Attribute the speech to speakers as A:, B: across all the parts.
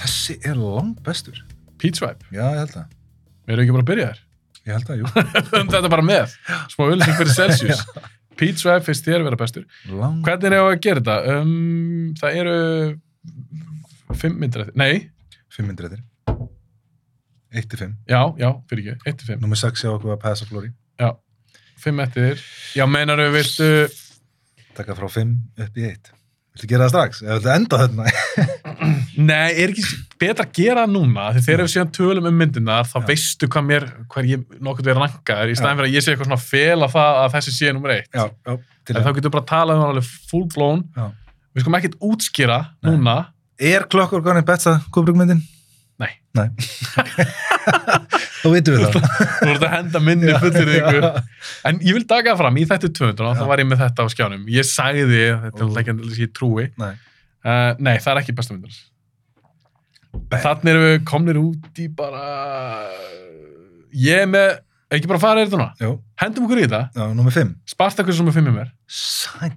A: þessi er langt bestur.
B: Pete Swipe,
A: Já, ég held að.
B: við erum ekki bara að byrja þér.
A: Ég held að, jú.
B: Þetta er bara með, smá öllising fyrir Celsius. Pete Swipe finnst þér vera bestur.
A: Langt.
B: Hvernig er það að gera þetta? Um, það eru fimm myndir eftir. Nei,
A: 500 réttir. 1 til 5.
B: já, já, fyrir ekki, 1 til 5.
A: Númer 6 hjá okkur að Pass of Glory.
B: Já, 5 eftir. Já, meinar við viltu,
A: Takka frá 5 upp í 1. Viltu gera það strax? Eða viltu enda þarna?
B: nei, er ekki betra að gera það núna, því þegar við síðan tölum um myndinar, þá
A: Já.
B: veistu hvað mér, hver ég nokkuð verið rankaður, í staðin
A: Já.
B: fyrir að ég sé eitthvað svona fel að það að þessi sé nummer 1.
A: já, já. Til
B: En þá
A: það.
B: getur við bara að tala um það alveg full blown.
A: Já.
B: Við skulum ekkert útskýra
A: Nei.
B: núna.
A: Er klokkur konið betsa Kubrickmyndin?
B: Nei.
A: Nei. Þá vitum við það.
B: Þú voru að henda minni fullir ykkur. En ég vil daga það fram í þetta 200 og
A: Já.
B: þá var ég með þetta á skjánum. Ég sagði því, þetta er alltaf ekki endilega sem ég trúi.
A: Nei.
B: Uh, nei, það er ekki bestu myndar.
A: Bang.
B: Þannig erum við komnir út í bara... Ég er með... Ekki bara fara þetta núna.
A: Jú,
B: Hendum okkur í þetta.
A: já, númer 5.
B: Spartakus sem er fimm í mér.
A: Sæl.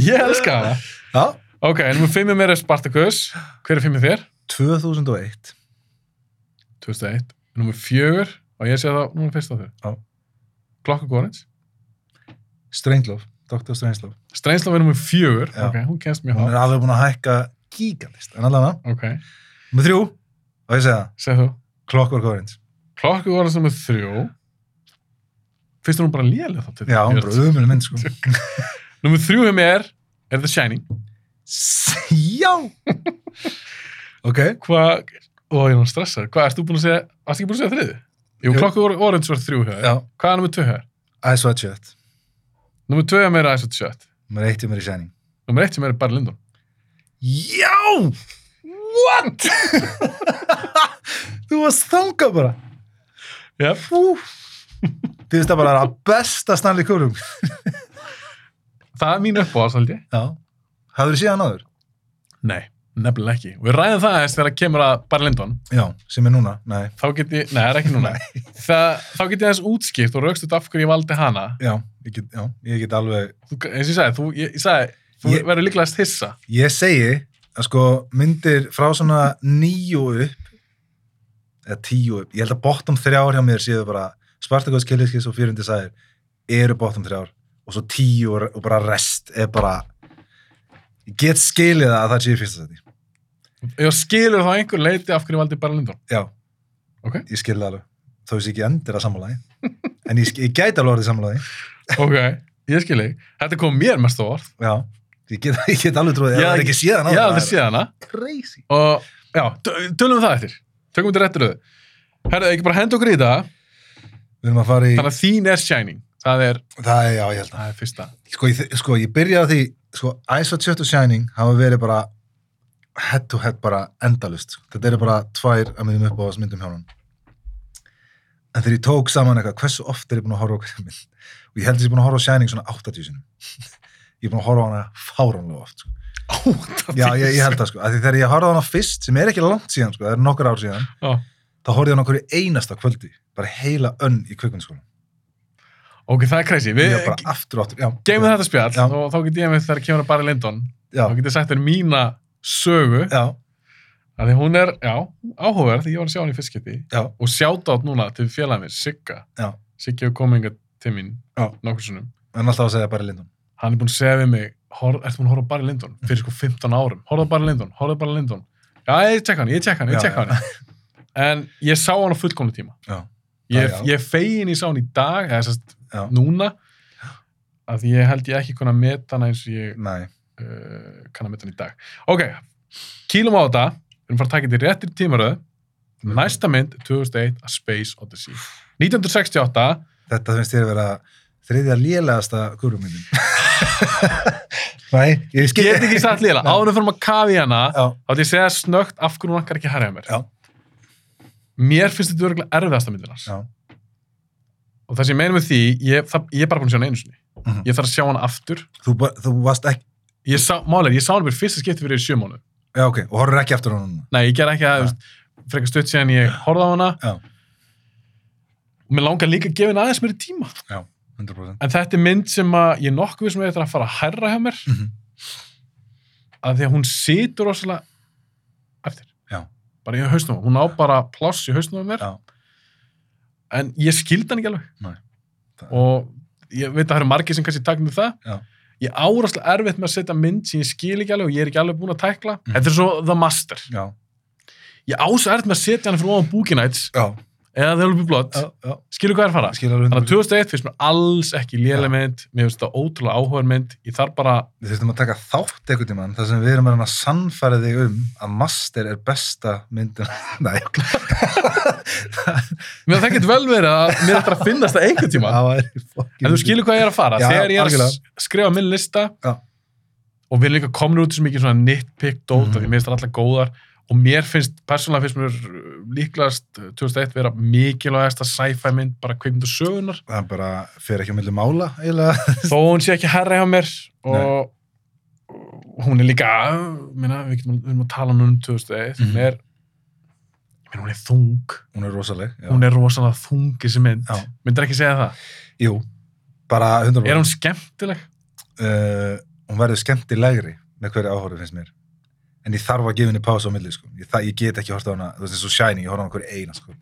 B: Ég elska það.
A: Já.
B: Ok, en nummer fimm í mér er Spartakus. Hver er fimm í þér?
A: 2001.
B: 2001. Nummer fjögur. Og ég sé það nummer fyrst á þér.
A: Já.
B: Klokka Gorins.
A: Strangelove. Dr. Strangelove.
B: Strænslóf er nummer fjögur.
A: Já.
B: Ok, hún kennst mjög
A: Hún
B: hátt.
A: er alveg búin að hækka gígandist. En allavega,
B: Ok,
A: nummer 3. Og ég segja það.
B: segð þú.
A: Clockwork Orange.
B: Klokka Gorins nummer þrjú. Fyrst er hún bara lélega þá til
A: Já, hún er bara umhverfið mynd, sko.
B: Númið þrjú hjá mér er The Shining.
A: Já! ok,
B: Hvað, og ég er hann stressaður, hvað erst þú búin að segja, varst ekki búin að segja þriði? Jú,
A: Jú.
B: klokku orðins var þrjú hjá þér.
A: já.
B: Hvað er númið tvö hjá þér?
A: I saw it shut.
B: Númið tvö hjá mér er Ice Out Shut.
A: Númer eitt í mér í sæning.
B: Númið eitt hjá mér er Barry Lyndon.
A: Já! What? Þú varst þangað bara.
B: Yep.
A: Fú. Þið veist það bara að besta Stanley Kubrick.
B: Það er mín uppáhals, held ég.
A: Já. Hafður þið séð hann áður?
B: Nei, nefnilega ekki. Við ræðum það aðeins þegar kemur að Barry Lyndon.
A: Já, sem er núna. Nei.
B: Þá get ég, nei, það er ekki núna. það, þá get ég aðeins útskipt og raukst af hverju ég valdi hana.
A: Já, ég get, já, ég get alveg...
B: Þú, eins og ég sagði, þú, ég, ég sagði, þú
A: Ég-
B: verður líklegast hissa.
A: Ég segi að sko myndir frá svona níu upp eða tíu upp. Ég held að bottom þrjár hjá mér séu bara Spartakos, Killiskis og Fjörundi Sæðir eru bottom þrjár og svo tíu og og bara rest er bara... Ég get skilið það að það séu í fyrsta seti.
B: Ég skilur þá einhver leiti af hverju ég valdi Barry Lyndon.
A: Já.
B: Ok.
A: Ég skil það alveg. Þó þess ekki endir að sammálaði. En ég, sk- ég gæti alveg orðið sammálaði.
B: Ok, ég skil þig. Þetta kom mér mest á orð.
A: Já. Ég get, ég get alveg trúið.
B: Já,
A: Ég hef ekki séð hann
B: Ég hafði séð hana
A: Crazy.
B: og já, tö- tölum við það eftir. Tökum við þetta réttur auðu. Herðu, ekki bara henda okkur í það.
A: Við erum að fara í...
B: Þannig að þín er Shining. Það er,
A: Það er, já, ég held að.
B: það er fyrsta.
A: Sko, ég, sko, ég byrja á því, sko, Ice Hot Shut og Shining hafa verið bara head to head bara endalust. Þetta eru bara tvær að miðum upp á þessum myndum hjá hann. En þegar ég tók saman eitthvað, hversu oft er ég búin að horfa á hverja mynd? Og ég held að ég er búin að horfa á Shining svona 80 sinum. ég er búin að horfa á hana fáránlega oft, sko.
B: Óta
A: Já, ég, ég held það sko, af því þegar ég horfði á hana fyrst, sem er ekki langt síðan sko, það er nokkur ár síðan,
B: það.
A: þá horfði ég á hana okkur einasta kvöldi, bara heila önn í kvikmyndskólan.
B: Ok, það er crazy. Við
A: Ég var bara aftur og aftur, já.
B: geymum þetta spjall
A: Já.
B: og þá get ég með þegar kemur að Barry Lyndon.
A: Já,
B: Þá get ég sagt þér mína sögu.
A: já,
B: af Því hún er, já, áhugaverð. Ég var að sjá hann í fyrstskipti.
A: já,
B: Og sjátt átt núna til félagið mér, Sigga.
A: Já.
B: Siggi hefur komið hingað til mín
A: Já.
B: nokkur sinnum.
A: en alltaf að segja bara Lindon.
B: hann er búinn að segja við mig hor, ertu búinn að horfa á Barry Lyndon fyrir sko 15 árum horfa á Barry Lyndon, horfa á Barry Lyndon já, ég tek hann, ég tek hann, ég
A: Já,
B: tek hann en ég sá hann á fullkomna tíma
A: Já.
B: ég,
A: Já, já.
B: ég er fegin ég sá hann í dag eða sérst
A: Já.
B: núna að ég held ég ekki kunna meta hann eins og ég
A: Nei,
B: uh, kann að meta hann í dag ok, kýlum á þetta við erum fara að taka þetta í réttir tímaröð næsta mynd, 2001 A Space Odyssey 1968
A: þetta finnst ég að vera þriðja lélegasta kurumyndin. Nei, ég skil.
B: get ekki satt líla,
A: Nei.
B: áður fyrir maður kafi hana
A: Já,
B: Þá ætlum ég að segja snögt af hverju hún akkar ekki herja mér.
A: Já.
B: Mér finnst þetta örgulega erfiðasta myndin hans.
A: já,
B: Og það sem ég meina með því, ég, það, ég er bara búin að sjá hana einu sinni.
A: Mhm.
B: Ég þarf að sjá hana aftur.
A: þú, ba- þú varst ekki,
B: Ég sá, málega, ég sá hana fyrir fyrsta skipti fyrir sjö mánu.
A: já ok, og horfður ekki aftur á hana núna.
B: Nei, ég ger ekki
A: Já.
B: það, þú veist, frekar stutt síðan ég horfði á hana.
A: Já.
B: Og mér langar líka að gefa henni aðeins mér tíma.
A: 100%.
B: En þetta er mynd sem að ég er nokkuð við sem ég ætla að fara að herra hjá mér.
A: Mhm.
B: Að því að hún situr rosalega eftir
A: Já.
B: bara í hausnum, á- hún á bara pláss í hausnum á mér,
A: Já.
B: en ég skildi hann ekki alveg
A: Nei. Það-
B: og ég veit að það eru margir sem kannski taknir það
A: Já.
B: ég áraslega erfitt með að setja mynd sem ég skil ekki alveg og ég er ekki alveg búin að tækla
A: Mhm.
B: þetta er svo The Master
A: já,
B: ég áslega erfitt með að setja hann fyrir ofan Búkinæts
A: já,
B: eða The Will Be Blood,
A: já, já.
B: skilur hvað er að fara
A: skil alveg
B: þannig að
A: undir.
B: 2001 finnst mér alls ekki lélega mynd mér finnst það ótrúlega áhugaður mynd ég þarf bara,
A: Við þurfum að taka þátt einhvern tímann þar sem við erum að reyna að sannfæra þig um að master er besta myndin Nei,
B: mér það getur vel verið að mér ætti að finnast það einhvern tíma
A: það var í fokkin
B: en þú skilur hvað ég er að fara
A: Já,
B: þegar ég er að
A: algjörlega.
B: s- skrifa minn lista
A: Já.
B: og við erum líka komin út sem mikið svona nitpick dót mm.
A: Mhm.
B: því mér finnst það allar góðar og mér finnst, persónulega finnst mér uh, líklegast uh, 2001 vera mikilvægasta sci-fi mynd bara kveikmyndu sögunar
A: Það bara fer ekki á milli mála eiginlega.
B: þó hún sé ekki herra hjá mér og og hún er líka minna, við, getum, við erum að tala nú um 2001
A: Mhm.
B: hún er minna, hún er þung,
A: Hún er rosaleg. Já.
B: hún er rosalega þung þessi mynd,
A: Já.
B: myndir ekki segja það
A: Jú, bara 100%.
B: er hún skemmtileg?
A: uh, hún verður skemmtilegri með hverju áhorið finnst mér en ég þarf að gefa henni pása á milli sko. ég, það- ég get ekki horta á hana, þú veist eins og Shining ég horfa á hana hverju eina sko.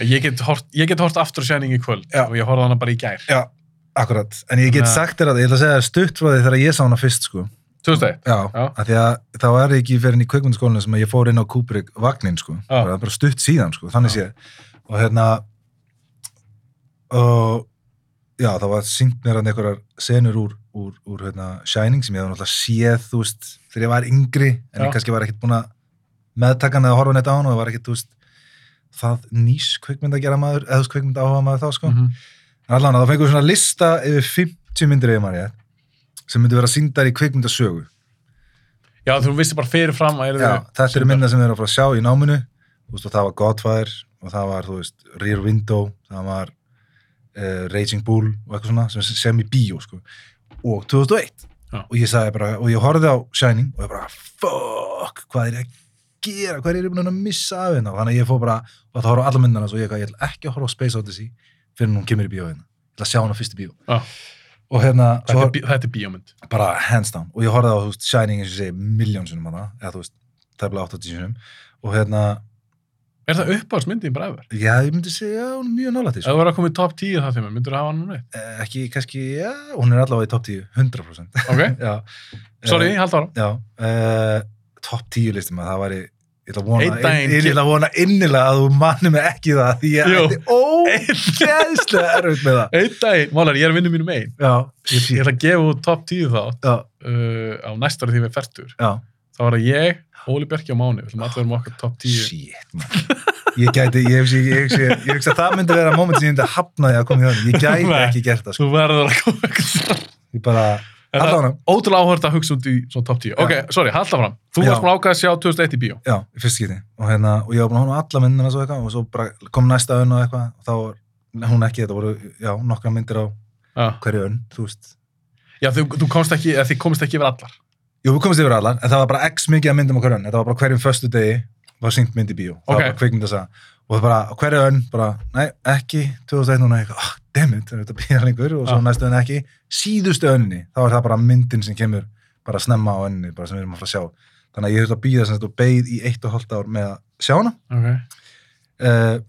B: Ég get hort, ég get hort aftur sæning í kvöld
A: Já.
B: og ég horfði á hana bara í gær.
A: já, akkurat, en ég get
B: Þannig að-
A: sagt þér að ég ætla að segja þér stutt frá því þegar ég sá hana fyrst sko.
B: Þú veist það?
A: já,
B: Já.
A: af því að það var ekki fyrir henni í kveikmyndaskólinu sem að ég fór inn á Kubrick vagnin sko.
B: Já.
A: það er bara stutt síðan, sko, þannig
B: Já.
A: séð og hérna og já, það var syngt mér hann einhverjar senur úr, úr, úr hérna, Shining sem ég hafði náttúrulega séð þú veist, þegar ég var yngri en
B: Já.
A: ég kannski var ekkert búin að meðtaka hann eða horfa neitt á hann og það var ekkert, þú veist það nýs kveikmynd að gera maður eða þú veist kveikmynd áhuga maður þá, sko
B: Mm
A: en allan að það fengur svona lista yfir 50 myndir eða maður ég sem myndi vera síndar í kveikmyndasögu
B: Já, þú vissir bara fyrirfram að
A: Já, þetta eru
B: sýndar.
A: mynda sem við erum að fara að sjá í náminu Þú veist, og það var Godfather og það var, þú veist, Rear Window það var uh, Raging Bull og eitthvað svona sem, sem í bíó sko. og 2001
B: Já.
A: og ég sagði bara, og ég horfði á Shining og ég bara, fuck, hvað er ég að gera hvað er ég búin að missa af hérna þannig að ég fór bara, og það horfði á alla myndana og ég, eitthvað, ég ætla ekki að horfa á Space Odyssey fyrir hún kemur í bíó hérna, ég ætla að sjá hana fyrst í bíó
B: Já.
A: og hérna,
B: Þetta, er bí- þetta er bíómynd.
A: bara hands down og ég horfði á þú veist, Shining eins og ég segi miljón sinum hana, eða þú veist, tæfla 80 sinum og hérna,
B: Er það uppáhaldsmyndin bara efer?
A: já, ég myndi segja já, hún er mjög nálætti,
B: Ef
A: sko.
B: þú verður að koma í top 10 það þegar, myndur þú hafa hann núna?
A: Eh, ekki, kannski, já, hún er allavega í topp 10 100%
B: Ok,
A: já,
B: sorry,
A: Eh,
B: ég haldi ára.
A: já, uh, topp 10 listum að það væri ég ætla að vona,
B: Einn daginn
A: ég, ég ætla að vona innilega að þú mannum ekki það því ég
B: Jú.
A: ætti ógeðslega erfitt með það
B: Einn dag, málar, ég er vinnu mínum einn.
A: já,
B: Ég, ég ætla að gefa út top 10 þá
A: já,
B: uh, á næsta ári því við færtur.
A: já
B: Það var að ég, Óli Bjarki og Máni, við ætlum allir um okkar top 10.
A: Shit, man. Ég gæti, ég hugsi, ég hugsi, ég hugsi að það myndi vera moment sem ég myndi að hafna því að koma í þannig. Ég gæti
B: Nei.
A: ekki gert það, sko.
B: Þú verður að koma eitthvað.
A: Ég bara,
B: Þetta
A: allavega,
B: ótrúlega áhört að hugsa út í svona top 10. Ok, sorry, halda fram. Þú
A: Já.
B: varst mér ákvæð að sjá 2001 í bíó.
A: já, í fyrst skipti. Og hérna, og ég var búin að horfa á alla myndina svo eitthvað og svo bara kom næsta önn og eitthvað og þá var hún ekki, þetta voru, já, nokkra myndir á
B: Já,
A: hverju önn, þú veist.
B: já þú, þú komst ekki, eða þið komst ekki yfir allar.
A: Jú, við komumst yfir allar, en það var bara x mikið af myndum á hverju önn. Þetta var bara á hverjum föstu degi var syngt mynd í bíó. Það
B: Ok.
A: var bara kvikmynd að sagða. Og það bara, á hverju önn, bara, nei, ekki, 2001 núna, eitthvað, oh, dammit, það er þetta býða lengur og svo
B: Já.
A: næstu önn ekki. Síðustu önni, þá er það bara myndin sem kemur bara snemma á önni, bara sem við erum að fara að sjá. Þannig að ég þurfti að býða sem þetta og beið í eitt og hálft ár með að sjá hana.
B: Okay.
A: uh,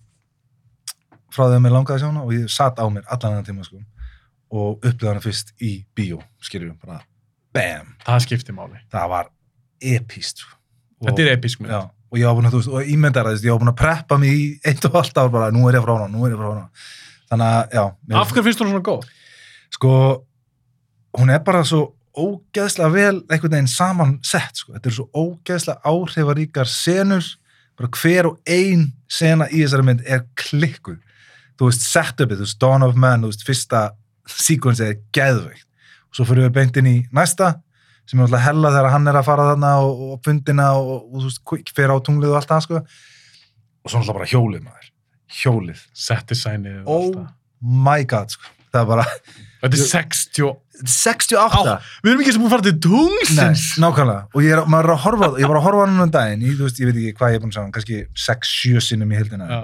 A: frá því að mér langaði að sjá hana og ég satt á mér allan þennan tíma sko, og upplýði hana fyrst í bíó skilur við bara bam
B: Það skiptir máli.
A: það var epíst sko. og,
B: Þetta er episk mynd.
A: já, og ég var búin að, þú veist, og ímyndar að ég var búin að preppa mig í eitt og allt ár bara nú er ég frá hana, nú er ég frá hana þannig að, já, mér-
B: Af hverju finnst þú hún svona góð?
A: sko hún er bara svo ógeðslega vel einhvern veginn samansett sko. þetta eru svo ógeðslega áhrifaríkar senur bara hver og ein sena í þessari mynd er klikkuð þú veist setupið, þú veist Dawn of Man þú veist fyrsta sequence er geðveikt og svo fyrir við beint inn í næsta sem er alltaf hella þegar hann er að fara þarna og, og fundina og, og, þú veist quick, fer á tunglið og allt það sko og svo alltaf bara hjólið maður hjólið,
B: Set designið og
A: Ó.
B: allt það.
A: my god sko það er bara
B: Þetta er
A: Ég-
B: 60...
A: 68
B: Við erum ekki sem búin að fara til
A: Nei,
B: tunglsins.
A: nákvæmlega, og ég er, maður er að horfa á það- ég var að horfa á hann um daginn, ég, þú veist, ég veit ekki hvað ég er búin að sagja, kannski 6-7 sinnum í heldina
B: Já.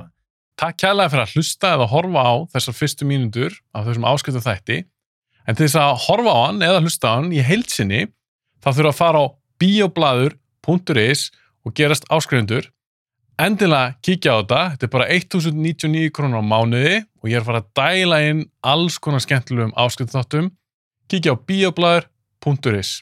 B: Takk kærlega fyrir að hlusta eða horfa á þessar fyrstu mínundur af þessum áskiptu þætti. En til þess að horfa á hann eða hlusta á hann í heilsinni, þá þurfa að fara á bioblaður.is og gerast áskrifundur endilega kíkja á þetta þetta er bara 1099 krónur á mánuði og ég er að fara að dæla inn alls konar skemmtilegum áskrifundarþáttum kíkja á bioblæður.is